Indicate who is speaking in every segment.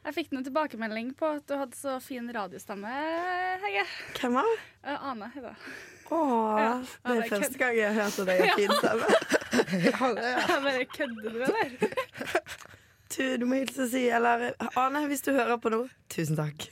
Speaker 1: Jeg fikk noen tilbakemelding på at du hadde så fin radiostemme, Hege.
Speaker 2: Hvem var det?
Speaker 1: Eh, Ane heter jeg.
Speaker 2: Åh,
Speaker 1: Ja,
Speaker 2: det
Speaker 1: det
Speaker 2: er
Speaker 1: er
Speaker 2: første
Speaker 1: kødd.
Speaker 2: gang jeg har hørt at jeg har fin stemme.
Speaker 1: Jeg bare kødder du, eller?
Speaker 2: Du, du må hilse og si, eller Ane, hvis du hører på nå, tusen takk.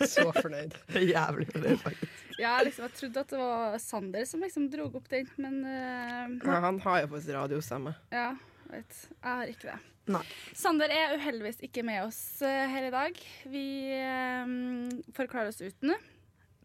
Speaker 3: Så fornøyd.
Speaker 2: Jævlig fornøyd, faktisk.
Speaker 1: Ja, liksom, jeg trodde at det var Sander som liksom dro opp den, men eh,
Speaker 3: Ja, han har jo faktisk radiostemme.
Speaker 1: ja, jeg vet. Jeg har ikke det.
Speaker 2: Nei.
Speaker 1: Sander er uheldigvis ikke med oss eh, her i dag. Vi eh, får klare oss uten nå.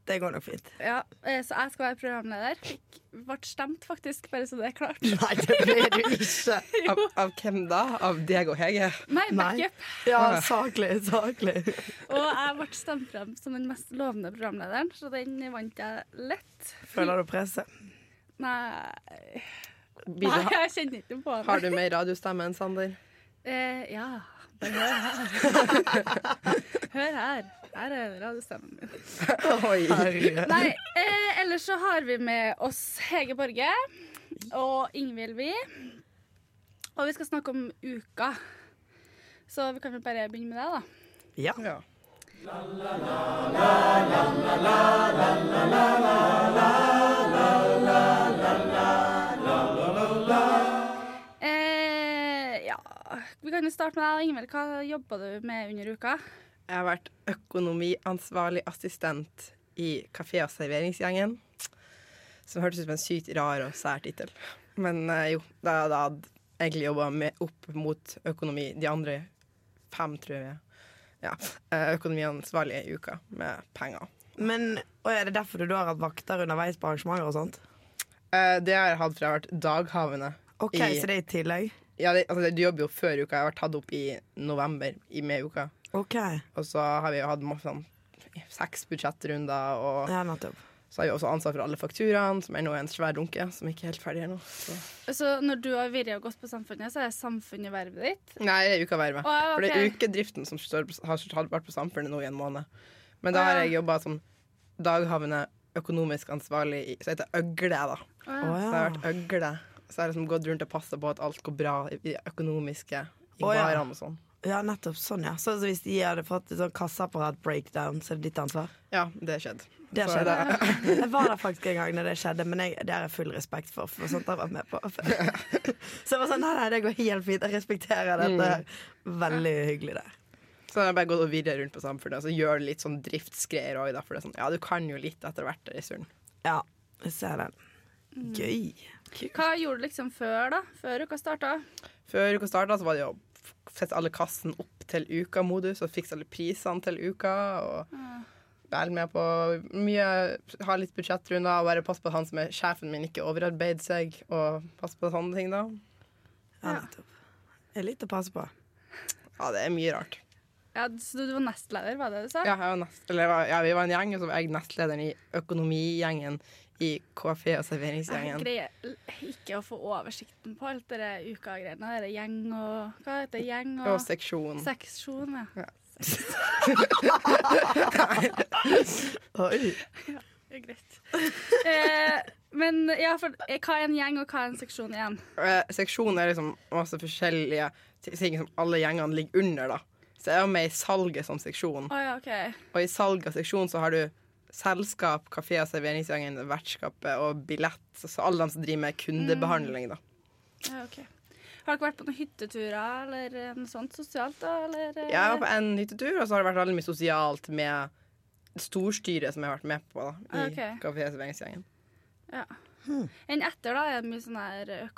Speaker 2: Det går nok fint.
Speaker 1: Ja, eh, så jeg skal være programleder. Fikk, ble stemt, faktisk, bare så det er klart.
Speaker 2: Nei, det blir du ikke.
Speaker 3: Av, av hvem da? Av deg og Hege? Ah.
Speaker 1: Nei,
Speaker 2: Nei.
Speaker 1: backup.
Speaker 2: Ja, saklig, saklig.
Speaker 1: Og jeg ble stemt frem som den mest lovende programlederen, så den vant jeg lett.
Speaker 2: Føler du presset?
Speaker 1: Nei,
Speaker 3: Vil
Speaker 1: nei
Speaker 3: du ha-
Speaker 1: jeg kjenner ikke på det.
Speaker 3: Har du mer radiostemme enn Sander?
Speaker 1: Eh, ja. Bare hør her. hør her. Her er radiostemmen min.
Speaker 3: Oi.
Speaker 2: Herre.
Speaker 1: Nei, eh, ellers så har vi med oss Hege Borge og Ingvild Vi. Og vi skal snakke om uka. Så vi kan vel bare begynne med det, da.
Speaker 2: Ja.
Speaker 3: Ja.
Speaker 1: Eh, ja, vi kan jo starte med deg, Ingvild. Hva jobba du med under uka?
Speaker 3: Jeg har vært økonomiansvarlig assistent i kafé- og serveringsgjengen. Som hørtes ut som en sykt rar og sær tittel. Men eh, jo, da da hadde jeg egentlig jobba opp mot økonomi de andre fem, tror jeg. Ja, eh, økonomiansvarlig i uka med penger.
Speaker 2: Men og er det derfor du da har hatt vakter underveis på arrangementer og sånt?
Speaker 3: Eh, Det har jeg hatt fra jeg har vært daghavende.
Speaker 2: OK,
Speaker 3: I-
Speaker 2: så det er i tillegg?
Speaker 3: Ja, det, altså, du jobber jo før uka. Jeg har vært tatt opp i november i med uka.
Speaker 2: OK.
Speaker 3: Og så har vi jo hatt masse sånn seks budsjettrunder og
Speaker 2: Ja, nettopp.
Speaker 3: Så har vi også ansvar for alle fakturaene, som er nå en svær dunke. Som ikke er helt ferdig ennå. Så.
Speaker 1: Så Altså, når du og Virja har gått på Samfunnet, så er samfunnet vervet ditt?
Speaker 3: Nei, det er ukavervet.
Speaker 1: Å, ja,
Speaker 3: For det er
Speaker 1: ok.
Speaker 3: ukedriften som står, på- har har vært på Samfunnet nå i en måned. Men da
Speaker 1: Å, ja.
Speaker 3: har jeg jobba som daghavende økonomisk ansvarlig i Så heter det øgle, da.
Speaker 2: Å
Speaker 3: Så jeg
Speaker 2: ja.
Speaker 3: har
Speaker 1: Ah.
Speaker 3: vært øgle. Så jeg har liksom gått rundt og passa på at alt går bra i i det økonomiske, i
Speaker 2: Å, ja.
Speaker 3: varene og sånn.
Speaker 2: ja, nettopp. Sånn, ja. Så hvis de hadde fått et sånn kasseapparat-breakdown, så er det ditt ansvar?
Speaker 3: Ja, det skjedde.
Speaker 2: Det
Speaker 3: Så
Speaker 2: skjedde.
Speaker 3: det-
Speaker 2: Jeg var der faktisk en gang når det skjedde, men jeg, det har jeg full respekt for. For sånt har jeg vært med på før. Så jeg var sånn Nei, nei, det går helt fint. Jeg respekterer
Speaker 3: Mm.
Speaker 2: dette. Veldig hyggelig der.
Speaker 3: Så har jeg bare gått og virret rundt på Samfunnet og så gjør det litt sånn driftsgreier òg, da. For det er sånn, ja, du kan jo litt etter hvert en stund.
Speaker 2: Ja, jeg ser den.
Speaker 3: Mm.
Speaker 2: Gøy. Kult.
Speaker 1: Hva gjorde du liksom før, da? Før uka starta?
Speaker 3: Før uka starta, var det jo å sette alle kassen opp til uka-modus og fikse alle prisene til uka. Og være med på mye, ha litt budsjettrunder og bare passe på at han som er sjefen min, ikke overarbeider seg. Og passe på sånne ting, da.
Speaker 2: Ja, nettopp. Det er litt å passe på.
Speaker 3: Ja, det er mye rart.
Speaker 1: Ja, så du, du var nestleder, var det det du sa?
Speaker 3: Ja, jeg var nest, eller, jeg var- ja, vi var en gjeng, og så var jeg nestlederen i økonomigjengen i kafé- og
Speaker 1: Jeg
Speaker 3: serveringsgjengen.
Speaker 1: greier l- ikke å få oversikten på alt det der uka-greiene. Det der gjeng og Hva heter det? Gjeng og,
Speaker 3: Og seksjon.
Speaker 1: seksjon? Ja.
Speaker 2: Oi.
Speaker 1: Det er greit. eh, men ja, for eh, hva er en gjeng, og hva er en seksjon igjen?
Speaker 3: Eh, seksjonen er liksom masse forskjellige ti- ting som alle gjengene ligger under, da. Så jeg var med i salget som seksjon.
Speaker 1: Å ja, OK.
Speaker 3: Og i salg av seksjon så har du selskap, kafé og serveringsgangen, vertskapet og billett. Så så alle de som driver med kundebehandling,
Speaker 1: Mm.
Speaker 3: da.
Speaker 1: Ja, ok. Har dere vært på noen hytteturer eller eh, noe sånt sosialt? da? Eller, eh,
Speaker 3: Jeg var på en hyttetur, og så har det vært veldig mye sosialt med storstyret som jeg har vært med på da, i
Speaker 1: Ah, Ok.
Speaker 3: kafé og serveringsgangen.
Speaker 1: ja. Enn etter da er det mye sånn her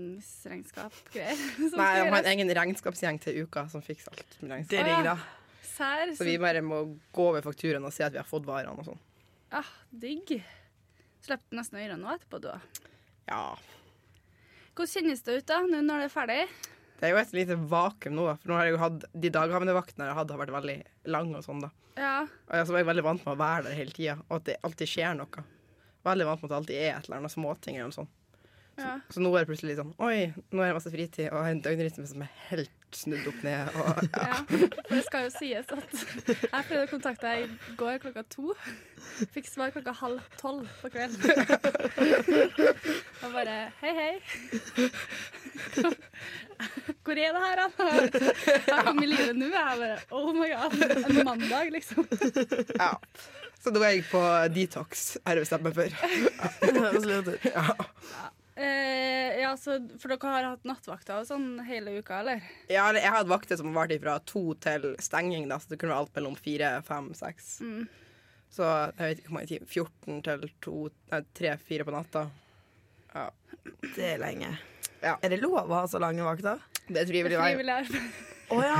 Speaker 1: økonomiregningsregnskap-greier. som
Speaker 3: Nei,
Speaker 1: skal
Speaker 3: de har en
Speaker 1: gjøres.
Speaker 3: egen regnskapsgjeng til uka som fikser alt med regnskap.
Speaker 2: Det er digg, da.
Speaker 1: Sær,
Speaker 3: Så vi bare må gå over fakturaen og se at vi har fått varene og sånn.
Speaker 1: Ja, Ah, digg. Slipp du nesten ørene nå etterpå, du òg.
Speaker 3: Ja.
Speaker 1: Hvordan kjennes det ut da, nå når det er ferdig?
Speaker 3: Det er jo et lite vakuum nå, da. For nå har jeg jo hatt de daghavende vaktene jeg har hatt, har vært veldig lange og sånn, da.
Speaker 1: Ja.
Speaker 3: Og altså, jeg så var jeg veldig vant med å være der hele tida, og at det alltid skjer noe. Veldig vant med at det alltid er et eller annet småting eller noe sånt.
Speaker 1: ja.
Speaker 3: Så nå er det plutselig litt sånn Oi, nå er det masse fritid, og jeg har en døgnrytme som er helt helt snudd opp ned. Og,
Speaker 1: Ja. For det skal jo sies at jeg prøvde å kontakte deg i går klokka to. Fikk svar klokka halv tolv på kvelden. Og bare hei, hei. Hvor er det her, da? Jeg kom i live nå. Jeg bare oh my god. En mandag, liksom.
Speaker 3: ja. Så da er jeg på detox, har jeg bestemt meg for.
Speaker 2: Det høres lurt ut.
Speaker 3: Ja.
Speaker 1: Eh, ja, så, for dere har hatt nattvakter og sånn hele uka, eller?
Speaker 3: Ja, eller jeg hadde vakter som varte fra to til stenging, da, så det kunne være alt mellom fire, fem, seks.
Speaker 1: Mm.
Speaker 3: Så jeg vet ikke hvor mange timer. 14 til to, nei, tre, fire på natta. Ja.
Speaker 2: Det er eh, lenge.
Speaker 3: Ja.
Speaker 2: Er det lov å ha så lange vakter?
Speaker 3: Det er frivillig vei.
Speaker 1: Frivillig arbeid.
Speaker 2: Å ja!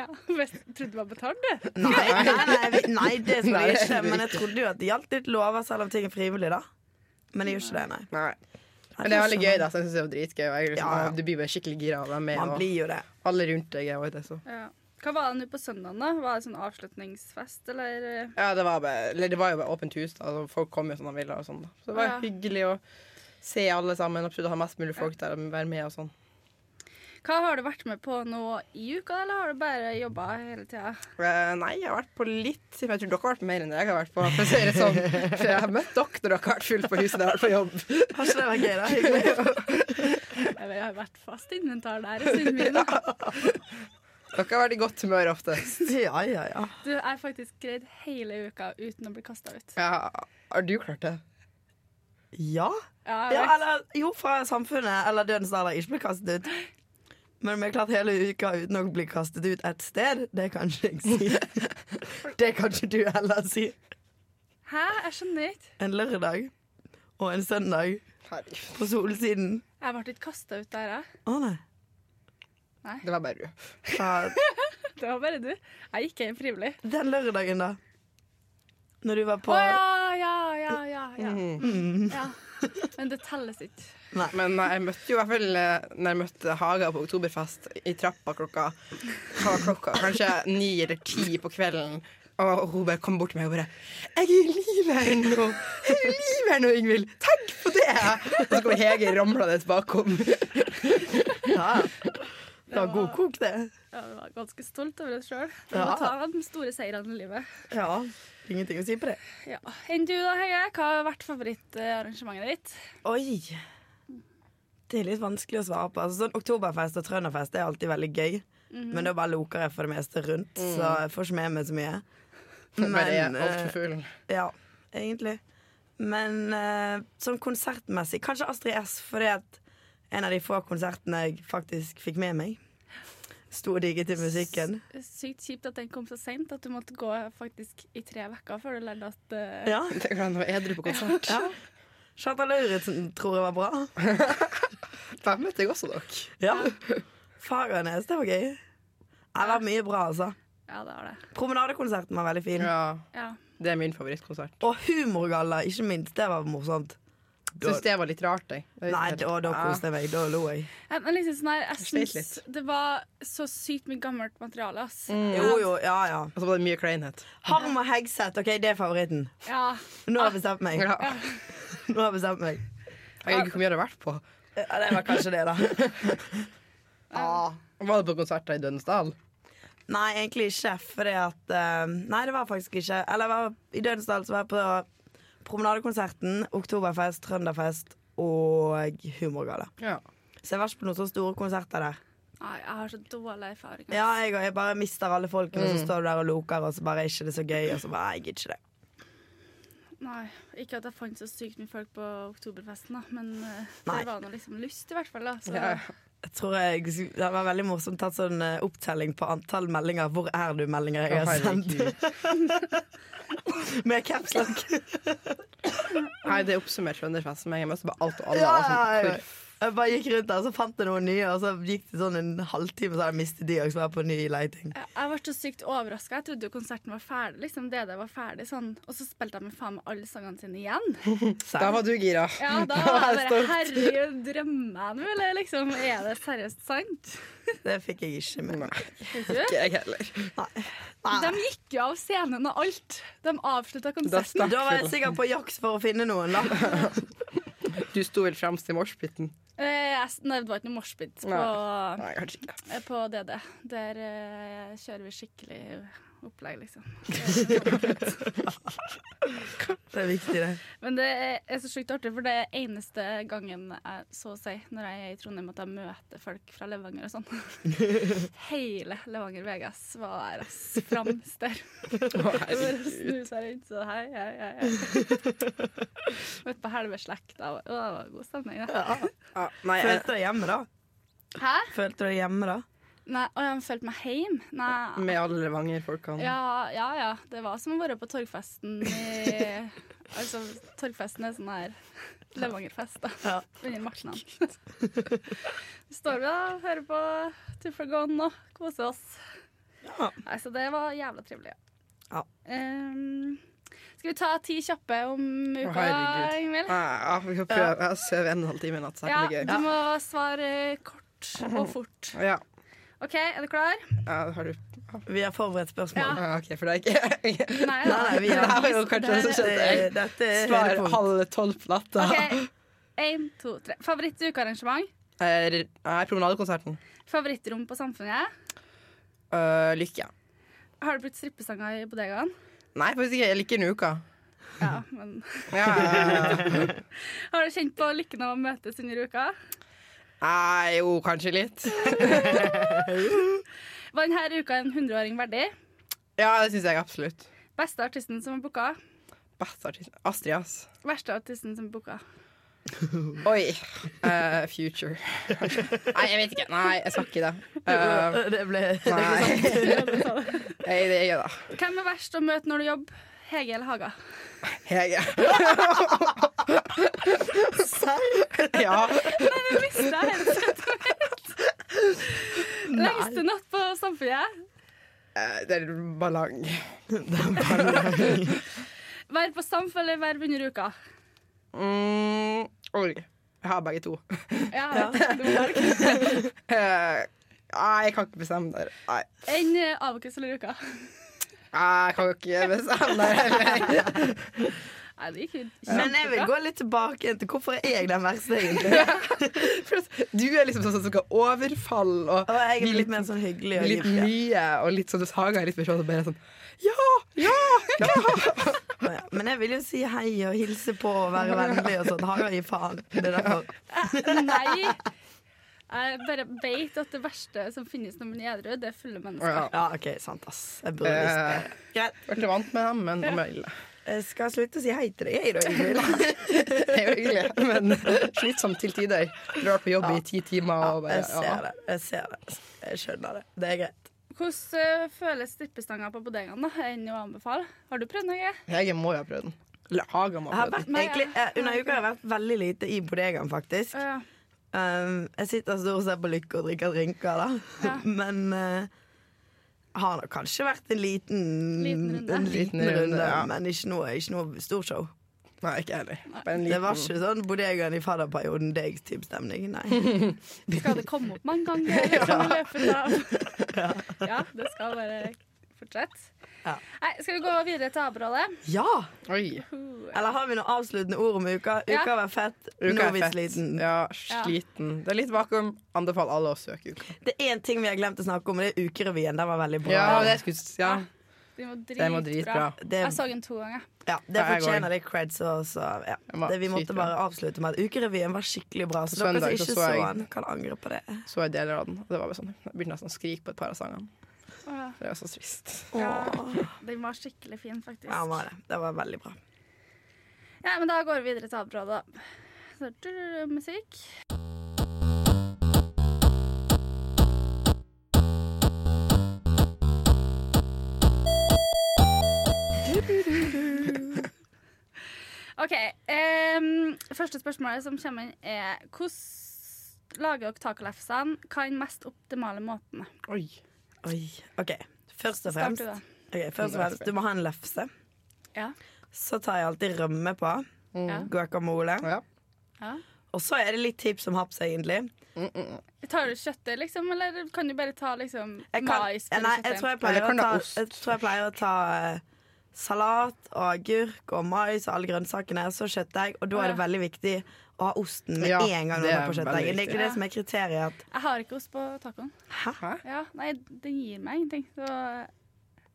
Speaker 1: Ja. Jeg trodde det var betalt, du.
Speaker 2: Nei, nei, nei, vi- nei det skulle
Speaker 3: Nei,
Speaker 2: jeg ikke.
Speaker 3: det er
Speaker 2: Men jeg trodde jo at det gjaldt litt lover, selv om ting er frivillig, da. Men det gjør ikke det, nei.
Speaker 3: Nei. Men det er veldig gøy, da. Så jeg synes det er dritgøy. Og jeg, er liksom,
Speaker 2: Ja, ja.
Speaker 3: Du blir bare skikkelig gira av dem. med,
Speaker 2: Man
Speaker 3: og
Speaker 2: blir jo det.
Speaker 3: Alle rundt deg er også det. Så.
Speaker 1: Ja. Hva var det nå på søndagen, da? Var det sånn avslutningsfest, eller? eh?
Speaker 3: Ja, det var, bare, eller det var jo bare åpent hus. Da. Altså, Folk kom jo som de ville. Og sånn, da. Så det var
Speaker 1: Ja.
Speaker 3: hyggelig å se alle sammen og prøvde å ha mest mulig folk der og være med. og sånn.
Speaker 1: Hva har du vært med på nå i uka, eller har du bare jobba hele tida?
Speaker 3: Eh, nei, jeg har vært på litt men Jeg tror dere har vært mer enn det jeg har vært på. For å si det sånn. For jeg har møtt dere når dere har vært full på huset. Jeg har vært på jobb.
Speaker 2: Har ikke det vært gøy, da? Hyggelig.
Speaker 1: Jeg har vært fast inventar der en stund. Min, da.
Speaker 3: Dere har vært i godt humør oftest.
Speaker 2: Ja, ja, ja.
Speaker 1: Du jeg har faktisk greid hele uka uten å bli kasta ut.
Speaker 3: Ja, har du klart det?
Speaker 2: Ja?
Speaker 1: Ja, jeg
Speaker 2: ja
Speaker 1: vet.
Speaker 2: eller, jo, fra samfunnet eller dødens alder ikke bli kastet ut. Men vi har klart hele uka uten å bli kastet ut et sted. Det kan ikke jeg si. Det kan ikke du heller si.
Speaker 1: Hæ? Jeg skjønner ikke.
Speaker 2: En lørdag og en søndag
Speaker 3: Herregud.
Speaker 2: på solsiden.
Speaker 1: Jeg ble ikke kasta ut der, jeg.
Speaker 2: Å nei.
Speaker 3: Det var bare du.
Speaker 2: Ja,
Speaker 1: Det var bare du. Jeg gikk inn frivillig.
Speaker 2: den lørdagen, da. Når du var
Speaker 1: Å
Speaker 2: på
Speaker 1: ja, ja, ja, ja, ja.
Speaker 3: Mm.
Speaker 1: ja. Men det telles ikke.
Speaker 3: Men eh, jeg møtte jo i hvert fall eh, Når jeg møtte Haga på Oktoberfest i trappa klokka, hva var klokka kanskje ni eller ti på kvelden. Og hun bare kom bort til meg og bare 'Jeg er i live her nå! Jeg er i live her nå, Ingvild! Tenk på det!' Og så kommer Hege ramlende bakom.
Speaker 2: ja. Det var god kok, det.
Speaker 1: Ja, jeg var ganske stolt over det sjøl.
Speaker 2: Ja.
Speaker 1: Må ta de store seirene i livet.
Speaker 2: Ja. Ingenting å si på det.
Speaker 1: Ja. Enn du da, Hege? Hva har vært favorittarrangementet ditt?
Speaker 2: Oi! Det er litt vanskelig å svare på. Altså, sånn Oktoberfest og trønderfest det er alltid veldig gøy.
Speaker 1: Mhm.
Speaker 2: Men da bare loker jeg for det meste rundt,
Speaker 1: Mm.
Speaker 2: så jeg får ikke med meg så mye.
Speaker 3: Bare er
Speaker 2: eh,
Speaker 3: altfor full.
Speaker 2: ja, egentlig. Men eh, sånn konsertmessig Kanskje Astrid S, fordi at en av de få konsertene jeg faktisk fikk med meg. Sto og digget til musikken.
Speaker 1: Sykt kjipt at den kom så seint at du måtte gå faktisk i tre uker før du lærte at eh,
Speaker 2: Ja.
Speaker 3: Det er klart, nå er edru på konsert.
Speaker 2: ja. Charta Lauritzen tror jeg var bra.
Speaker 3: Der møtte jeg også dere.
Speaker 2: Ja. Fagernes, det var gøy. Det var mye bra, altså.
Speaker 1: ja, det var det.
Speaker 2: Promenadekonserten var veldig fin.
Speaker 3: Ja,
Speaker 1: Ja.
Speaker 3: det er min favorittkonsert.
Speaker 2: Og humorgalla, ikke minst. Det var morsomt. Da,
Speaker 3: Syns det var litt rart, jeg. Jeg vet
Speaker 2: nei,
Speaker 3: ikke helt.
Speaker 2: da, da
Speaker 3: Ja.
Speaker 2: koste jeg meg. Da lo jeg.
Speaker 1: Eh, Men liksom sånn her, jeg
Speaker 3: Jeg sleit
Speaker 1: syns det var så sykt mye gammelt materiale, ass.
Speaker 2: Jo, jo, ja, ja.
Speaker 3: Og så var det mye kleinhet.
Speaker 2: Harm og Hegseth, OK, det er favoritten.
Speaker 1: Ja.
Speaker 2: Nå har jeg bestemt meg.
Speaker 3: Ja.
Speaker 2: Nå har jeg bestemt meg.
Speaker 3: Jeg vet ikke hvor mye det har vært på.
Speaker 2: Ja, det var kanskje det, da. Ah.
Speaker 3: Var det på konserter i Dønsdal?
Speaker 2: Nei, egentlig ikke, fordi at eh, Nei, det var faktisk ikke Eller jeg var i Dødsdal, så var jeg på Promenadekonserten, Oktoberfest, Trønderfest og Humorgalla.
Speaker 3: Ja.
Speaker 2: Så jeg var ikke på noen så store konserter der.
Speaker 1: Nei, jeg har så dårlig erfaring. ass.
Speaker 2: Ja, jeg, og jeg bare mister alle folkene, og så står du der og loker, og så bare er ikke det så gøy, og så bare jeg gidder ikke det.
Speaker 1: Nei, ikke at jeg fant så sykt mye folk på oktoberfesten, da, men eh,
Speaker 2: Nei.
Speaker 1: det var nå liksom lyst, i hvert fall. da. Så,
Speaker 3: Ja.
Speaker 2: Jeg tror jeg, Det var veldig morsomt tatt sånn eh, opptelling på antall meldinger 'Hvor er du?'-meldinger jeg har sendt
Speaker 3: Nei,
Speaker 2: med caps lock.
Speaker 3: det oppsummerte Trønderfest som jeg møtte bare alt og alle.
Speaker 2: Ja,
Speaker 3: og sånn,
Speaker 2: ja, ja.
Speaker 3: hvor-
Speaker 2: Jeg bare gikk rundt der, så fant jeg noen nye, og så gikk det sånn en halvtime, så hadde jeg mistet de, og så var jeg på ny leiting.
Speaker 1: Jeg jeg ble så sykt overraska. Jeg trodde jo konserten var ferdig. liksom det det var ferdig sånn. Og så spilte de med faen meg alle sangene sine igjen.
Speaker 3: Da var du gira.
Speaker 1: Ja, da
Speaker 3: Da
Speaker 1: var
Speaker 3: var
Speaker 1: jeg
Speaker 3: jeg
Speaker 1: bare Herregud, drømmer jeg nå, eller liksom? Er det seriøst sant?
Speaker 2: Det fikk jeg ikke med meg.
Speaker 3: Ikke jeg heller.
Speaker 1: De gikk jo av scenen og alt. De avslutta
Speaker 3: Da
Speaker 1: konserten.
Speaker 3: stakk
Speaker 2: Da var jeg
Speaker 3: vi.
Speaker 2: sikkert på jakt for å finne noen, da.
Speaker 3: Du sto vel fremst i moshpiten.
Speaker 1: Eh, jeg s- Nei, det var ikke noe moshpit på,
Speaker 3: Nei, kanskje ikke.
Speaker 1: eh, på DD. Der eh, kjører vi skikkelig opplegg, liksom.
Speaker 2: Det er viktig, det.
Speaker 1: Men det er så sjukt artig, for det er eneste gangen jeg så å si når jeg er i Trondheim at jeg møter folk fra Levanger og sånn. Hele Levanger VGS var der, ass. Framst der.
Speaker 3: Å,
Speaker 1: Det Bare
Speaker 3: herregud.
Speaker 1: snu seg rundt så hei, hei, hei. hei. Møtte på halve slekta. og- Å, det var god stemning, det.
Speaker 2: Ja.
Speaker 3: Ja, nei, jeg,
Speaker 2: Følte du deg hjemme, da?
Speaker 1: Hæ?
Speaker 2: Følte du deg hjemme da?
Speaker 1: Nei, å, jeg følte meg heim. Nei,
Speaker 3: med alle Levanger-folkene.
Speaker 1: Ja, ja, ja. Det var som å være på torgfesten i Altså, torgfesten er sånn her Levangerfest, da.
Speaker 2: Ja.
Speaker 1: Under marsjene. Står vi da, hører på Tufla Gone og koser oss.
Speaker 2: Ja.
Speaker 1: Nei, så det var jævla trivelig.
Speaker 2: Ja.
Speaker 1: Ehm, skal vi ta ti kjappe om
Speaker 3: Å,
Speaker 1: uka,
Speaker 3: herregud.
Speaker 1: Ingvild?
Speaker 3: Ja, vi får prøve. Jeg sover en og en halv time i natt, så det
Speaker 1: Ja,
Speaker 3: er ikke
Speaker 1: du
Speaker 3: noe
Speaker 1: må svare kort og fort.
Speaker 3: gøy. Ja,
Speaker 1: OK, er du klar?
Speaker 3: ja har du
Speaker 2: Vi har forberedt spørsmål.
Speaker 3: Ja, OK, for det er ikke
Speaker 1: Nei,
Speaker 2: Nei, nei, vi
Speaker 3: Det
Speaker 2: har
Speaker 3: her var jo kanskje det som
Speaker 2: Det-
Speaker 3: skjedde. Jeg
Speaker 2: Dette er
Speaker 3: Svar
Speaker 2: høydepunkt.
Speaker 3: halv tolv på natta.
Speaker 1: OK. Én, to, tre. Favoritt-ukearrangement?
Speaker 3: Er, er promenadekonserten.
Speaker 1: Favorittrom på Samfunnet?
Speaker 3: Øh, lykke.
Speaker 1: Har det blitt strippesanger i bodegaen?
Speaker 3: Nei, faktisk ikke. Jeg liker Nuka.
Speaker 1: Ja, men
Speaker 3: Ja, ja, ja.
Speaker 1: Har du kjent på lykken av å møtes under uka?
Speaker 3: Nei, jo, kanskje litt.
Speaker 1: Var denne uka en 100-åring verdig?
Speaker 3: Ja, det syns jeg absolutt.
Speaker 1: Beste artisten som er booka?
Speaker 3: Beste artist. Astrid, ass.
Speaker 1: Verste artisten som er booka?
Speaker 3: Oi. Eh, future. Nei, jeg vet ikke. Nei, jeg skal ikke det. Eh,
Speaker 2: Det ble
Speaker 3: nei.
Speaker 1: Hvem
Speaker 3: Nei, det er jeg, da.
Speaker 1: er verst å møte når du jobber? Hege eller Haga?
Speaker 3: Hege.
Speaker 2: Serr?
Speaker 3: Ja.
Speaker 1: Det visste jeg helt sett og helt. Lengste natt på Samfunnet?
Speaker 3: Eh, det er en ballong.
Speaker 1: Være på Samf eller være under uka?
Speaker 3: Mm, oi. Jeg har begge to.
Speaker 1: Ja,
Speaker 2: Ja.
Speaker 1: du må velge.
Speaker 3: Eh, Nei, jeg kan ikke bestemme der. Nei,
Speaker 1: Enn eh, Abokus eller uka?
Speaker 3: jeg kan ikke bestemme der heller.
Speaker 1: Nei, det gikk jo
Speaker 2: Men jeg vil
Speaker 1: kjempebra.
Speaker 2: gå litt tilbake igjen til hvorfor er jeg den verste, egentlig.
Speaker 3: For at Du er liksom sånn som skal overfalle og
Speaker 2: Og jeg
Speaker 3: bli
Speaker 2: er
Speaker 3: litt,
Speaker 2: litt mer sånn hyggelig og
Speaker 3: litt
Speaker 2: giftig.
Speaker 3: mye. Og litt sånn, du sager litt mer sånn, og bare sånn Ja! Ja!
Speaker 2: Men jeg vil jo si hei og hilse på og være vennlig og sånn. Haga gir faen. Det er derfor.
Speaker 1: Nei. Jeg bare vet at det verste som finnes når man er edru, det er fulle mennesker.
Speaker 3: Ja.
Speaker 2: Ja, OK, sant, ass. Jeg burde visst det.
Speaker 3: Eh, Ble vant med dem, men det var ille.
Speaker 2: Jeg skal slutte å si hei til deg, jeg, da, Ingvild.
Speaker 3: Det er jo hyggelig, men slitsomt til tider. Drar på jobb i ti timer og bare
Speaker 2: Jeg ser
Speaker 3: ja.
Speaker 2: det. Jeg ser det. Jeg skjønner det. Det er greit.
Speaker 1: Hvordan eh, føles strippestanga på bodegaen? da? Er den å anbefale? Har du prøvd noe?
Speaker 3: Hege må jo ha prøvd den. Eller Haga må
Speaker 2: Jeg
Speaker 3: ha
Speaker 2: har
Speaker 3: prøvd
Speaker 2: vært,
Speaker 3: den.
Speaker 1: Nei,
Speaker 2: egentlig,
Speaker 1: ja.
Speaker 2: eh, under uka har jeg vært veldig lite i bodegaen, faktisk.
Speaker 1: Ja.
Speaker 2: Um, jeg sitter stort sett på Lykke og drikker drinker, da.
Speaker 1: Ja.
Speaker 2: Men eh, har nok kanskje vært en liten,
Speaker 1: Liten runde.
Speaker 2: En liten
Speaker 3: Liten runde,
Speaker 2: runde,
Speaker 3: ja.
Speaker 2: Men ikke noe, ikke noe storshow.
Speaker 3: Nei, ikke jeg heller. Bare en
Speaker 2: Det var
Speaker 3: liten
Speaker 2: ikke sånn bodegaen i fadderperioden, deg-type stemning. Nei.
Speaker 1: Skal det komme opp mange ganger liksom, i løpet av Ja, det skal bare fortsette.
Speaker 2: Ja.
Speaker 1: Nei, skal vi gå videre til avbrådet?
Speaker 2: Ja!
Speaker 3: Oi.
Speaker 2: Eller har vi noen avsluttende ord om uka?
Speaker 1: Ja.
Speaker 2: Uka var fett,
Speaker 3: Uka
Speaker 2: nå
Speaker 3: er
Speaker 2: er vi
Speaker 3: fett.
Speaker 2: sliten.
Speaker 3: Ja, sliten. Det er litt vakuum. Anbefaler alle å søke uka.
Speaker 2: Det er én ting vi har glemt å snakke om, og det er Ukerevyen. Den var veldig bra.
Speaker 3: Ja, det skulle ja.
Speaker 1: Den var
Speaker 3: Det må
Speaker 1: dritbra.
Speaker 3: dritbra.
Speaker 2: det,
Speaker 1: Jeg så den to ganger.
Speaker 2: ja, det
Speaker 3: Ja, jeg
Speaker 2: fortjener litt creds. og så, ja.
Speaker 3: Den var
Speaker 2: det, vi måtte
Speaker 3: sykt bra.
Speaker 2: bare avslutte med at Ukerevyen var skikkelig bra. Så
Speaker 3: På søndag
Speaker 2: dere som
Speaker 3: så
Speaker 2: ikke
Speaker 3: så
Speaker 2: så
Speaker 3: jeg-
Speaker 2: den, kan angre på det.
Speaker 3: Så jeg deler av den, og det var bare sånn Jeg begynte nesten å skrike på et par av sangene.
Speaker 1: Åh,
Speaker 3: Det var så trist.
Speaker 1: Ja.
Speaker 2: Åh.
Speaker 1: Den var skikkelig fin, faktisk.
Speaker 2: Ja, han var det. Det var veldig bra.
Speaker 1: Ja, men da går vi videre til avbrådet. Så du, musikk. OK. em, første spørsmålet som kommer inn, er hvordan lager dere tacolefsene? Hva er den mest optimale måten?
Speaker 3: Oi.
Speaker 2: Oi. OK, først og
Speaker 1: Start
Speaker 2: fremst,
Speaker 1: du, da.
Speaker 2: Ok, først og fremst du må ha en lefse.
Speaker 1: Ja.
Speaker 2: Så tar jeg alltid rømme på.
Speaker 1: ja,
Speaker 3: Mm.
Speaker 2: Guacamole.
Speaker 3: Ja.
Speaker 1: ja.
Speaker 2: Og så er det litt tips om haps, egentlig.
Speaker 3: Mm, mm, mm.
Speaker 1: Tar du kjøttet, liksom, eller kan du bare ta liksom,
Speaker 2: Jeg kan,
Speaker 1: mais?
Speaker 2: eh,
Speaker 1: eller
Speaker 2: nei,
Speaker 1: kjøttdeig?
Speaker 2: jeg tror jeg
Speaker 3: Eller
Speaker 2: pleier å
Speaker 3: kan det
Speaker 2: ta,
Speaker 3: ha ost?
Speaker 2: jeg tror jeg pleier å ta eh, salat og agurk og mais og alle grønnsakene. Så kjøttdeig, og da er det veldig viktig å ha osten med
Speaker 3: Ja,
Speaker 2: en gang.
Speaker 3: det
Speaker 2: Det
Speaker 3: er
Speaker 2: er, på kjøttdeigen. det
Speaker 3: veldig
Speaker 2: er egentlig
Speaker 1: viktig.
Speaker 2: det som er kriteriet. At,
Speaker 1: Jeg har ikke ost på tacoen.
Speaker 2: hæ?
Speaker 3: Hæ?
Speaker 1: Ja, nei, den gir meg ingenting. Så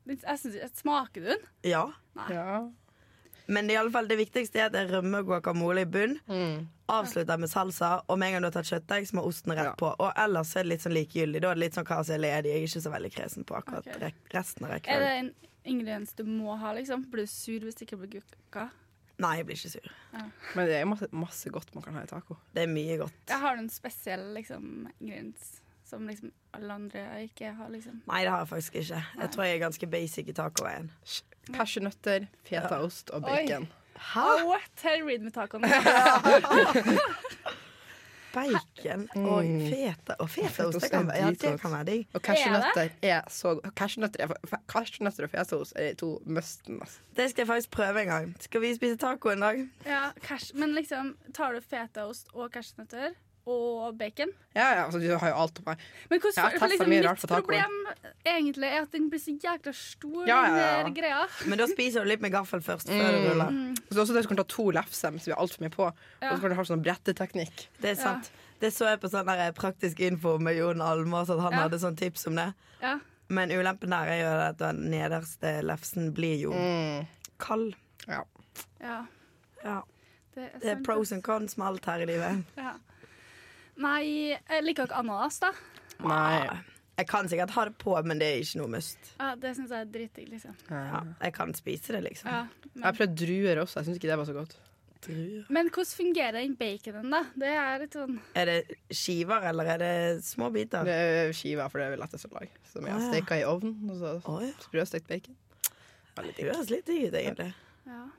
Speaker 1: den- jeg synes, ikke- smaker du den?
Speaker 2: Ja.
Speaker 3: Ja.
Speaker 2: Men det, er i alle fall, det viktigste er at det er rømme og guacamole i bunn.
Speaker 3: Mm.
Speaker 2: Avslutter med salsa, og med en gang du har tatt kjøttdeig, så må osten rett
Speaker 3: Ja.
Speaker 2: på. Og ellers er det litt sånn likegyldig. Da er det litt sånn hva som er ledig. Jeg er ikke så veldig kresen på akkurat
Speaker 1: Ok.
Speaker 2: re- resten av
Speaker 1: Er
Speaker 2: rekkefølgen.
Speaker 1: det en ingrediens du må ha, liksom? Blir du sur hvis det ikke blir gukka?
Speaker 2: Nei, jeg blir ikke sur.
Speaker 3: Men det er jo masse, masse godt man kan ha i taco.
Speaker 2: Det er mye godt.
Speaker 1: Jeg har du en spesiell liksom, ingrediens som liksom alle andre ikke har, liksom.
Speaker 2: Nei, det har jeg faktisk ikke. Jeg tror jeg er ganske basic i tacoveien.
Speaker 3: Cashewnøtter, fetaost og
Speaker 1: Oi.
Speaker 3: bacon.
Speaker 2: Ah.
Speaker 1: Oh, what? Hell read med tacoen.
Speaker 2: Bacon og feta. Og fetaost, det kan
Speaker 3: er
Speaker 2: være, ja, det
Speaker 3: dritgodt.
Speaker 2: kan være digg.
Speaker 3: Og cashewnøtter er så gode. Cashewnøtter, er, fa- cashewnøtter og fetaost er de to musten. Altså.
Speaker 2: Det skal jeg faktisk prøve en gang. Skal vi spise taco en dag?
Speaker 1: Ja, cash. Men liksom, tar du fetaost og cashewnøtter og bacon?
Speaker 3: Ja, ja, altså, du har jo alt på meg.
Speaker 1: Men hvordan,
Speaker 3: Jeg har
Speaker 1: for,
Speaker 3: testet
Speaker 1: liksom,
Speaker 3: mye
Speaker 1: mitt
Speaker 3: rart på tacoen.
Speaker 1: problem egentlig er at den blir så jækla stor,
Speaker 3: Ja,
Speaker 1: den
Speaker 3: ja, ja.
Speaker 1: der greia.
Speaker 2: Men da spiser du litt med gaffel først. Før du
Speaker 3: Mm.
Speaker 2: ruller.
Speaker 3: Så det er også det som kan ta to lefser hvis vi har altfor mye på. Og
Speaker 1: Ja.
Speaker 3: så kan du ha sånn bretteteknikk.
Speaker 2: Det er sant. Det så jeg på sånn der praktisk info med Jon Almaas, at han
Speaker 1: Ja.
Speaker 2: hadde sånn tips om det.
Speaker 1: Ja.
Speaker 2: Men ulempen der er jo at den nederste lefsen blir jo kald.
Speaker 3: Ja.
Speaker 1: ja.
Speaker 2: Ja.
Speaker 1: Det er,
Speaker 2: Det er
Speaker 1: sant,
Speaker 2: pros
Speaker 1: ass.
Speaker 2: and cons med alt her i livet.
Speaker 1: Ja. Nei, jeg liker ikke ananas, da.
Speaker 2: Ah,
Speaker 3: Nei.
Speaker 2: Jeg kan sikkert ha det på, men det er ikke noe must.
Speaker 1: Ja, det syns jeg er dritdigg, liksom.
Speaker 2: Ja, jeg kan spise det, liksom.
Speaker 1: Ja.
Speaker 3: Jeg har prøvd druer også. Jeg syns ikke det var så godt.
Speaker 2: Druer.
Speaker 1: Men hvordan fungerer den baconen, da? Det er litt sånn
Speaker 2: Er det skiver, eller er det små biter?
Speaker 3: Det er skiver, for det er lettest å lage. Som jeg
Speaker 2: Å, ja.
Speaker 3: steker i ovnen. Og så
Speaker 2: Å ja.
Speaker 3: sprøstekt bacon.
Speaker 2: Det
Speaker 3: Veldig digg.
Speaker 2: høres litt digg ut, egentlig.
Speaker 1: Ja.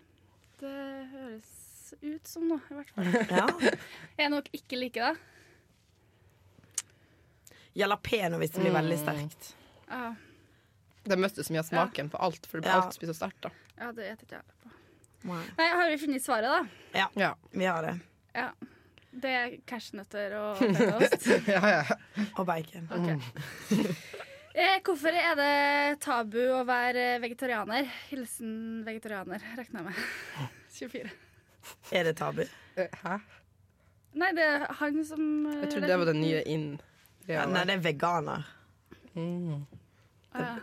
Speaker 1: Det høres ut som noe, i hvert fall.
Speaker 2: Ja.
Speaker 1: Jeg er nok ikke like det.
Speaker 2: Jalapeño hvis det blir veldig sterkt.
Speaker 1: Ja,
Speaker 3: Det er mest du som gjør smaken på alt, for
Speaker 2: Ja.
Speaker 3: alt spiser så sterkt. da
Speaker 1: ja det vet ikke jeg. på.
Speaker 2: Nei.
Speaker 1: Nei, har vi funnet svaret, da?
Speaker 3: Ja.
Speaker 2: Vi har det.
Speaker 1: Det er cashewnøtter og fetaost.
Speaker 3: ja, ja.
Speaker 2: Og bacon.
Speaker 1: Ok.
Speaker 3: Mm.
Speaker 1: Eh, Hvorfor er det tabu å være vegetarianer? Hilsen vegetarianer, regner jeg med. 24.
Speaker 2: Er det tabu?
Speaker 3: Hæ?
Speaker 1: Nei, det er han som eh,
Speaker 3: Jeg trodde det var den nye in.
Speaker 2: Ja, nei, det er veganer.
Speaker 3: Mm.
Speaker 1: Ja.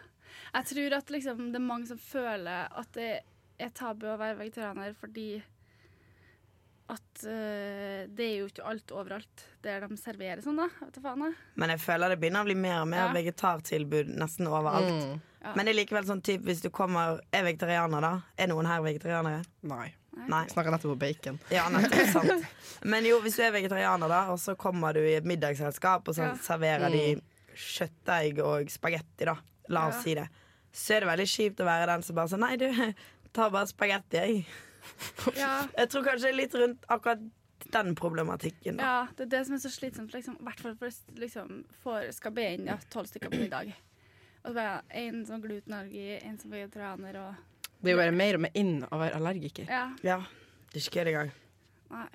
Speaker 1: Jeg tror at liksom, det er mange som føler at det er tabu å være vegetarianer fordi at eh, det er jo ikke alt overalt der de serverer sånn, da. Vet du faen, jeg.
Speaker 2: Men jeg føler det begynner å bli mer og mer
Speaker 1: Ja.
Speaker 2: vegetartilbud nesten overalt.
Speaker 3: Mm.
Speaker 1: Ja.
Speaker 2: Men det er likevel sånn typ hvis du kommer Er vegetarianer, da? Er noen her vegetarianere?
Speaker 3: Nei.
Speaker 2: Nei.
Speaker 3: Jeg snakka nettopp om bacon.
Speaker 2: Ja, nettopp. sant. Men jo, hvis du er vegetarianer, da, og så kommer du i et middagsselskap, og så
Speaker 1: Ja.
Speaker 2: serverer de kjøttdeig og spagetti, da. La oss
Speaker 1: Ja.
Speaker 2: si det. Så er det veldig kjipt å være den som bare sånn Nei, du, ta bare spagetti, jeg.
Speaker 1: Ja,
Speaker 2: Jeg tror kanskje litt rundt akkurat den problematikken, da.
Speaker 1: ja, det er det som er så slitsomt, liksom, i hvert fall for liksom, for, skal be inn ja, tolv stykker på middag. Og så bare en som glutenallergi, en som vegetarianer og
Speaker 3: Det er jo bare mer og mer in å være allergiker.
Speaker 1: Ja,
Speaker 2: Ja. Det er ikke kødd engang.
Speaker 1: nei.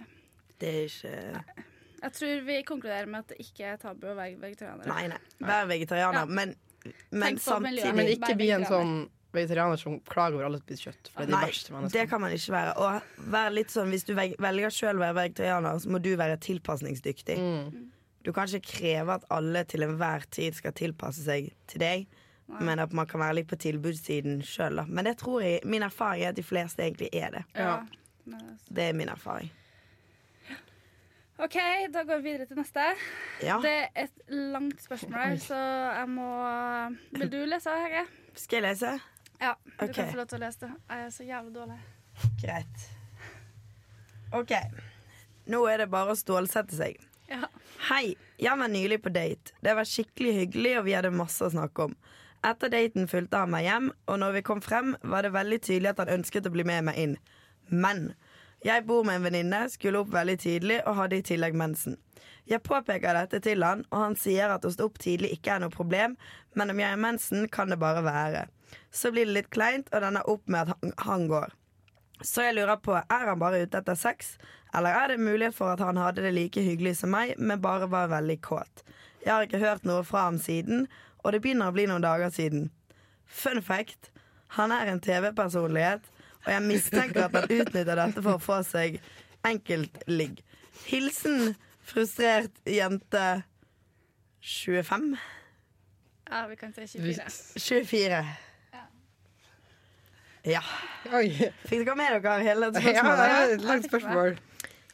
Speaker 2: Det er ikke
Speaker 1: Jeg tror vi konkluderer med at det ikke er tabu å være vegetarianer.
Speaker 2: Nei, nei. Vær vegetarianer,
Speaker 1: Ja.
Speaker 2: men, men
Speaker 1: Tenk på miljøet.
Speaker 2: samtidig
Speaker 3: Men ikke
Speaker 1: Bare
Speaker 3: bli en
Speaker 1: vegetarianer.
Speaker 3: sånn vegetarianer som klager over alle spiser kjøtt. For det er de
Speaker 2: Nei,
Speaker 3: verste menneskene.
Speaker 2: det kan man ikke være. Og vær litt sånn, hvis du veg- velger sjøl å være vegetarianer, så må du være tilpasningsdyktig.
Speaker 3: Mm.
Speaker 2: Du kan ikke kreve at alle til enhver tid skal tilpasse seg til deg,
Speaker 1: Nei.
Speaker 2: men at man kan være litt på tilbudssiden sjøl. Men det tror jeg, min erfaring er at de fleste egentlig er det.
Speaker 1: Ja.
Speaker 3: Ja.
Speaker 1: Nei, det er så-
Speaker 2: Det er min erfaring.
Speaker 1: OK, da går vi videre til neste.
Speaker 2: Ja.
Speaker 1: Det er et langt spørsmål her, så jeg må Vil du lese, Hege?
Speaker 2: Skal jeg lese?
Speaker 1: Ja, du
Speaker 2: Ok.
Speaker 1: kan få lov til å lese det. Jeg er så jævlig dårlig.
Speaker 2: Greit. OK. Nå er det bare å stålsette seg.
Speaker 1: Ja.
Speaker 2: Hei, jeg var nylig på date. Det var skikkelig hyggelig, og vi hadde masse å snakke om. Etter daten fulgte han meg hjem, og når vi kom frem, var det veldig tydelig at han ønsket å bli med meg inn. Men jeg bor med en venninne, skulle opp veldig tidlig og hadde i tillegg mensen. Jeg påpeker dette til han, og han sier at å stå opp tidlig ikke er noe problem, men om jeg har mensen, kan det bare være. Så blir det litt kleint, og den er opp med at han- han går. Så jeg lurer på, er han bare ute etter sex? Eller er det mulighet for at han hadde det like hyggelig som meg, men bare var veldig kåt? Jeg har ikke hørt noe fra ham siden, og det begynner å bli noen dager siden. Fun fact, han er en TV-personlighet, og jeg mistenker at han utnytter dette for å få seg enkeltligg. Hilsen frustrert jente 25.
Speaker 1: Ja, vi kan si 24.
Speaker 2: 24. Ja.
Speaker 3: Oi.
Speaker 2: Fikk dere med dere hele dette
Speaker 3: Ja, det
Speaker 2: spørsmålet?
Speaker 3: er et langt spørsmål.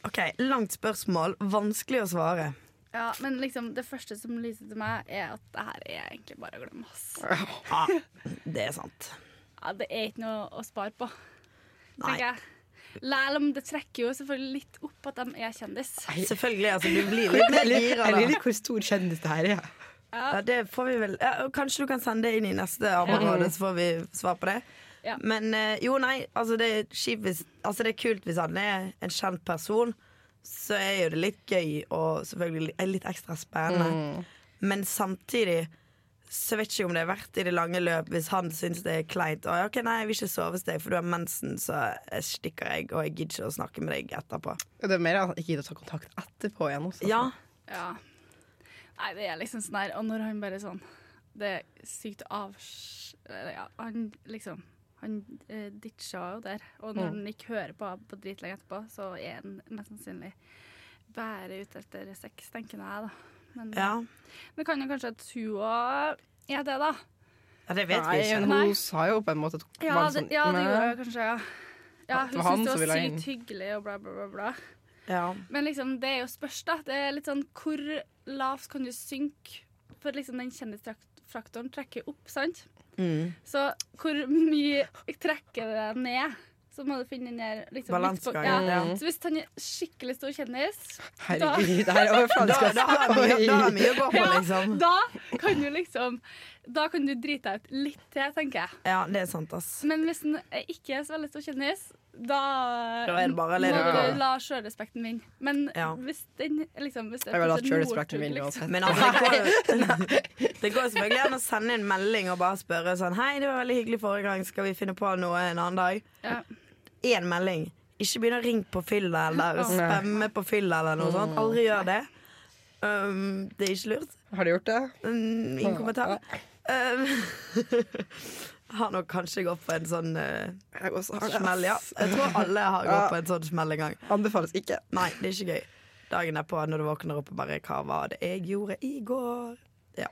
Speaker 2: OK, langt spørsmål. Vanskelig å svare.
Speaker 1: Ja, men liksom, det første som lyser til meg, er at det her er egentlig bare å glemme. Ass.
Speaker 2: Ja, det er sant.
Speaker 1: Ja, det er ikke noe å spare på,
Speaker 2: Nei.
Speaker 1: tenker jeg. Læl om det trekker jo selvfølgelig litt opp at de er kjendis.
Speaker 2: Selvfølgelig. Altså, du blir litt mer gira
Speaker 3: Jeg
Speaker 2: da.
Speaker 3: lurer hvor stor kjendis det her er.
Speaker 2: Ja, det får vi vel. Ja, og kanskje du kan sende det inn i neste arbeidsområde, så får vi svar på det.
Speaker 1: Ja.
Speaker 2: Men eh, jo, nei, altså det, er kjipt hvis, altså det er kult hvis han er en kjent person. Så er jo det litt gøy og selvfølgelig li- litt ekstra spennende. Men samtidig så vet jeg ikke om det er verdt i det lange løp hvis han syns det er kleint. Og ok, nei, jeg vil ikke sove hos deg, for du har mensen, så jeg stikker jeg, og jeg gidder ikke å snakke med deg etterpå.
Speaker 3: Det er mer at han ikke gidder å ta kontakt etterpå igjen. Også,
Speaker 2: Ja,
Speaker 1: Ja. Nei, det er liksom sånn her Og når han bare sånn Det er sykt avs... eller Ja, han liksom Han eh, ditcha jo der. Og når han ikke hører på på dritlenge etterpå, så er han mest sannsynlig bare ute etter sex, tenker jeg, da. Men
Speaker 2: ja.
Speaker 1: det kan jo kanskje at hun òg er det, da.
Speaker 2: ja det vet
Speaker 3: Nei,
Speaker 2: vi ikke.
Speaker 1: men-
Speaker 3: Hun
Speaker 1: Nei.
Speaker 3: sa jo på en måte at hun
Speaker 1: Ja,
Speaker 3: var
Speaker 1: det,
Speaker 3: sånn,
Speaker 1: ja, det
Speaker 3: «Nei».
Speaker 1: gjorde jeg kanskje, ja. Ja,
Speaker 3: At det
Speaker 1: hun
Speaker 3: var han
Speaker 1: syntes
Speaker 3: som
Speaker 1: det
Speaker 3: ville
Speaker 1: var
Speaker 3: inn.
Speaker 1: sykt hyggelig og bla, bla, bla. bla.
Speaker 2: Ja.
Speaker 1: Men liksom, det er jo spørs, da. Det er litt sånn hvor lavt kan du synke? For liksom den kjendisfraktoren trekker opp, sant?
Speaker 2: Mm.
Speaker 1: Så hvor mye trekker det deg ned? Så må du finne den der liksom, midt på-
Speaker 2: Balansegangen,
Speaker 1: Ja.
Speaker 2: ja.
Speaker 1: Så hvis han er skikkelig stor kjendis,
Speaker 3: Herregud, det her er
Speaker 2: Da,
Speaker 3: overfladisk. ass.
Speaker 2: da har vi da har vi mye å gå på,
Speaker 1: Ja,
Speaker 2: liksom.
Speaker 1: da kan du liksom Da kan du drite deg ut litt til, tenker jeg.
Speaker 2: Ja, det er sant, ass.
Speaker 1: Men hvis han er ikke er så veldig stor kjendis, da,
Speaker 2: Da er det bare å
Speaker 1: må
Speaker 2: leve
Speaker 3: med
Speaker 1: du
Speaker 2: det.
Speaker 1: la sjølrespekten vinne. Men
Speaker 2: Ja.
Speaker 1: hvis den liksom hvis det
Speaker 3: Jeg vil ha
Speaker 1: plutselig Northug,
Speaker 3: kjølespekter min
Speaker 1: liksom.
Speaker 3: uansett.
Speaker 2: Men altså, det går jo- det går jo selvfølgelig an å sende en melding og bare spørre sånn Hei, det var veldig hyggelig forrige gang, skal vi finne på noe en annen dag?
Speaker 1: Ja.
Speaker 2: Én melding. Ikke begynn å ringe på fylla eller spemme på fylla eller noe sånt. Aldri gjør det. Um, det er ikke lurt.
Speaker 3: Har du gjort det?
Speaker 2: Mm, ingen kommentar. Um, har nok kanskje gått på en sånn eh,
Speaker 3: Jeg også
Speaker 2: smell, ja. Jeg tror alle har gått på en sånn smell en gang.
Speaker 3: Anbefales ikke.
Speaker 2: Nei, det er ikke gøy. Dagen derpå når du våkner opp og bare Hva var det jeg gjorde i går? Ja.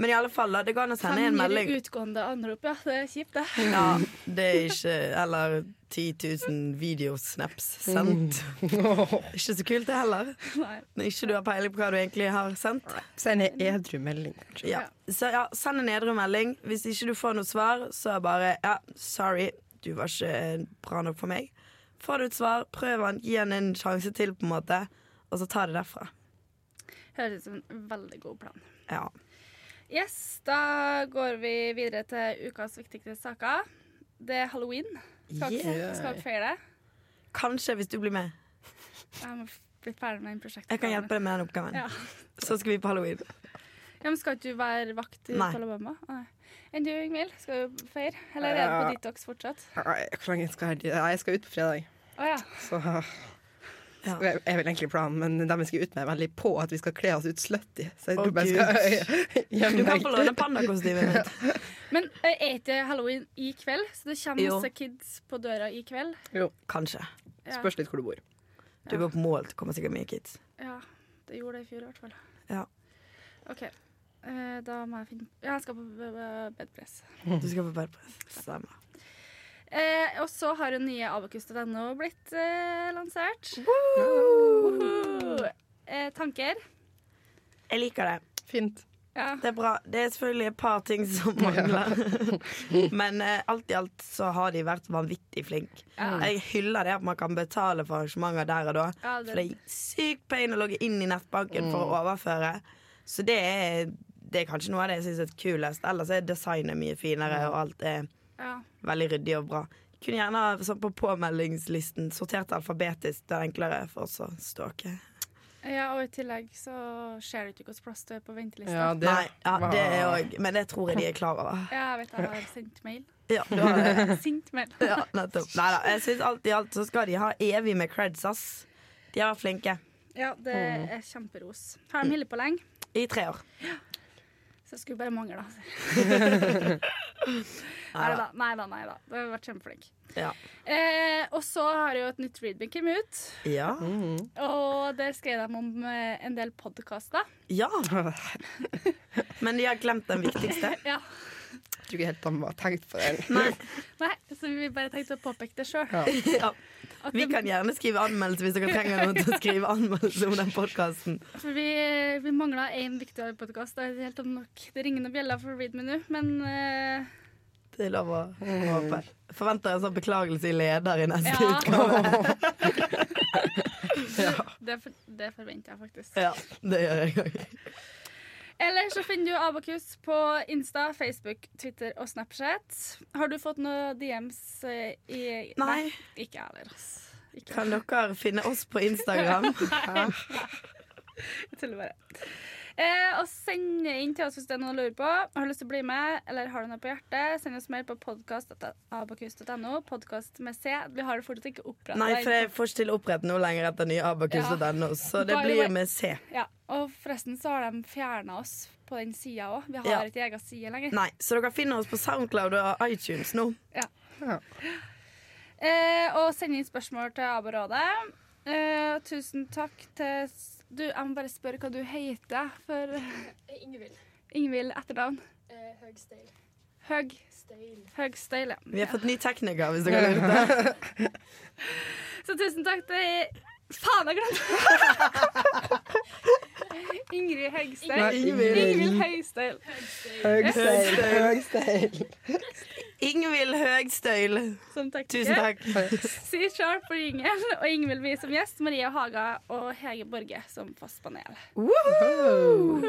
Speaker 2: Men i alle fall, da, det går an å sende en
Speaker 1: Fem
Speaker 2: melding.
Speaker 1: gir utgående anrop, ja. Det er kjipt, det.
Speaker 2: Ja, det er ikke Eller 10 000 videosnaps sendt. Ikke så kult, det heller.
Speaker 1: Nei.
Speaker 2: Når ikke du har peiling på hva du egentlig har sendt.
Speaker 3: Send en edru melding, kanskje.
Speaker 2: Ja. Så ja, send en edru melding. Hvis ikke du får noe svar, så er bare Ja, sorry, du var ikke eh, bra nok for meg. Får du et svar, prøv han, gi han en sjanse til, på en måte, og så ta det derfra.
Speaker 1: Høres ut som en veldig god plan.
Speaker 2: Ja.
Speaker 1: Yes, da går vi videre til ukas viktigste saker. Det er halloween. Skal dere
Speaker 2: Yeah.
Speaker 1: skal dere feire det?
Speaker 2: Kanskje, hvis du blir med.
Speaker 1: Jeg må f- bli ferdig med den prosjektet.
Speaker 2: Jeg kan hjelpe deg med den oppgaven.
Speaker 1: Ja.
Speaker 2: Så skal vi på halloween.
Speaker 1: Ja, men skal ikke du være vakt i
Speaker 2: Nei.
Speaker 1: Alabama? Nei. Enn du, Ingvild? Skal du feire? Eller er det på
Speaker 3: Ja.
Speaker 1: detox fortsatt?
Speaker 3: Nei, Hvor lenge skal jeg Nei, Jeg skal ut på fredag,
Speaker 1: Å ja.
Speaker 3: så Det er vel egentlig planen, men dem jeg skal ut med, er veldig på at vi skal kle oss ut slutty. Så jeg
Speaker 2: Å,
Speaker 3: tror bare jeg skal
Speaker 2: Du
Speaker 3: gjemme
Speaker 2: kan
Speaker 3: meg.
Speaker 2: få låne pandakostymet mitt.
Speaker 1: Men eh, er ikke det halloween i kveld? Så det kommer
Speaker 2: Jo.
Speaker 1: masse kids på døra i kveld?
Speaker 2: Kanskje.
Speaker 1: Ja.
Speaker 3: Spørs litt hvor du bor.
Speaker 2: Du går på mål, det kommer sikkert mye kids.
Speaker 1: ja. Det gjorde det i fjor, i hvert fall.
Speaker 2: Ja.
Speaker 1: OK. Eh, da må jeg finne Ja, jeg skal på b- b- bedpress.
Speaker 2: Du skal på ballpress. Stemmer.
Speaker 1: Eh, og så har jo nye abacus.no blitt eh, lansert. Woohoo! Eh, tanker?
Speaker 2: Jeg liker det.
Speaker 3: Fint.
Speaker 1: Ja.
Speaker 2: Det er bra. Det er selvfølgelig et par ting som mangler. Men eh, alt i alt så har de vært vanvittig flinke.
Speaker 1: Ja.
Speaker 2: Jeg hyller det at man kan betale for arrangementer der og da.
Speaker 1: Ja, det-
Speaker 2: For det Mm. er sykt pain å logge inn i nettbanken for å overføre. Så det er, det er kanskje noe av det jeg syns er kulest. Ellers er designet mye finere, og alt er
Speaker 1: ja.
Speaker 2: Veldig ryddig og bra. Kunne gjerne ha sånn på påmeldingslisten sortert alfabetisk. Det er enklere for oss å stalke.
Speaker 1: ja, og i tillegg så ser du ikke hvilken plass du er på ventelista.
Speaker 3: Ja,
Speaker 1: Ja,
Speaker 3: det
Speaker 2: Nei, ja, det er òg Men det tror jeg de er klar over.
Speaker 1: jeg vet jeg har sendt mail.
Speaker 2: Ja, du har det.
Speaker 1: Sint mail.
Speaker 2: ja nettopp. Nei da. Jeg syns alt i alt så skal de ha evig med creds, ass. De har vært flinke.
Speaker 1: Ja, det er kjemperos. Har de holdt på lenge?
Speaker 2: I tre år.
Speaker 1: Så det skulle bare mangle, da. Nei da, nei da. nei da. Du har vært kjempeflink.
Speaker 2: Ja.
Speaker 1: Eh, og så har jo et nytt readbink kommet ut,
Speaker 2: Ja.
Speaker 1: og det skrev de om eh, en del podkaster.
Speaker 2: ja. Men de har glemt den viktigste.
Speaker 1: Ja.
Speaker 3: Jeg tror ikke helt han har tenkt på det.
Speaker 2: Nei.
Speaker 1: Nei, så vi bare tenkte å påpeke det sjøl.
Speaker 3: Ja.
Speaker 2: Ja. Vi kan gjerne skrive anmeldelse hvis dere trenger noen til å skrive anmeldelse om den podkasten.
Speaker 1: For vi, vi mangla én viktig podkast. Det er helt nok. Det ringer noen bjeller for Read Me Now, men eh,
Speaker 2: Det er lov å håpe. Forventer en sånn beklagelse i leder i neste
Speaker 1: Ja.
Speaker 2: utgave.
Speaker 1: det, for- det forventer jeg faktisk.
Speaker 2: Ja, det gjør jeg òg.
Speaker 1: Eller så finner du Abakus på Insta, Facebook, Twitter og Snapchat. Har du fått noen DMs eh, i
Speaker 2: Nei.
Speaker 1: Ikke jeg heller, ass. Ikke
Speaker 2: Kan dere finne oss på Instagram?
Speaker 1: jeg tuller bare. Eh, og send inn til oss hvis det er noe du lurer på. Har du lyst til å bli med, eller har du noe på hjertet, send oss mail på podkast.abakus.no. Podkast med C. Vi har det fortsatt ikke opprettet.
Speaker 2: Nei, for jeg får ikke til opprett nå lenger etter nye abakus.no, så det
Speaker 1: By the way.
Speaker 2: blir med C.
Speaker 1: Ja, og forresten så har de fjerna oss på den sida òg. Vi har
Speaker 2: Ja.
Speaker 1: ikke egen side lenger.
Speaker 2: Nei, så dere finner oss på Soundcloud og iTunes nå.
Speaker 1: Eh, og send inn spørsmål til ABO-rådet. Eh, tusen takk til s- Du, jeg må bare spørre hva du heter for
Speaker 4: Eh, Ingvild.
Speaker 1: Ingvild etternavn.
Speaker 4: Eh, Høgstein.
Speaker 1: Høg,
Speaker 4: Stein.
Speaker 1: Høgstøyle.
Speaker 2: Vi har fått ny tekniker, hvis dere lurer.
Speaker 1: Så tusen takk til Faen, jeg glemte Ingrid Høgstøyl. Ingvild Høgstøyl.
Speaker 3: Høgstein. Høgstein.
Speaker 2: Ingvild Høgstøyl.
Speaker 1: Som takk.
Speaker 2: Tusen takk.
Speaker 1: Sea Sharp for jingel, og Ingvild Vi som gjest. Maria Haga og Hege
Speaker 2: Uh.
Speaker 1: Borge som fast panel. Woohoo!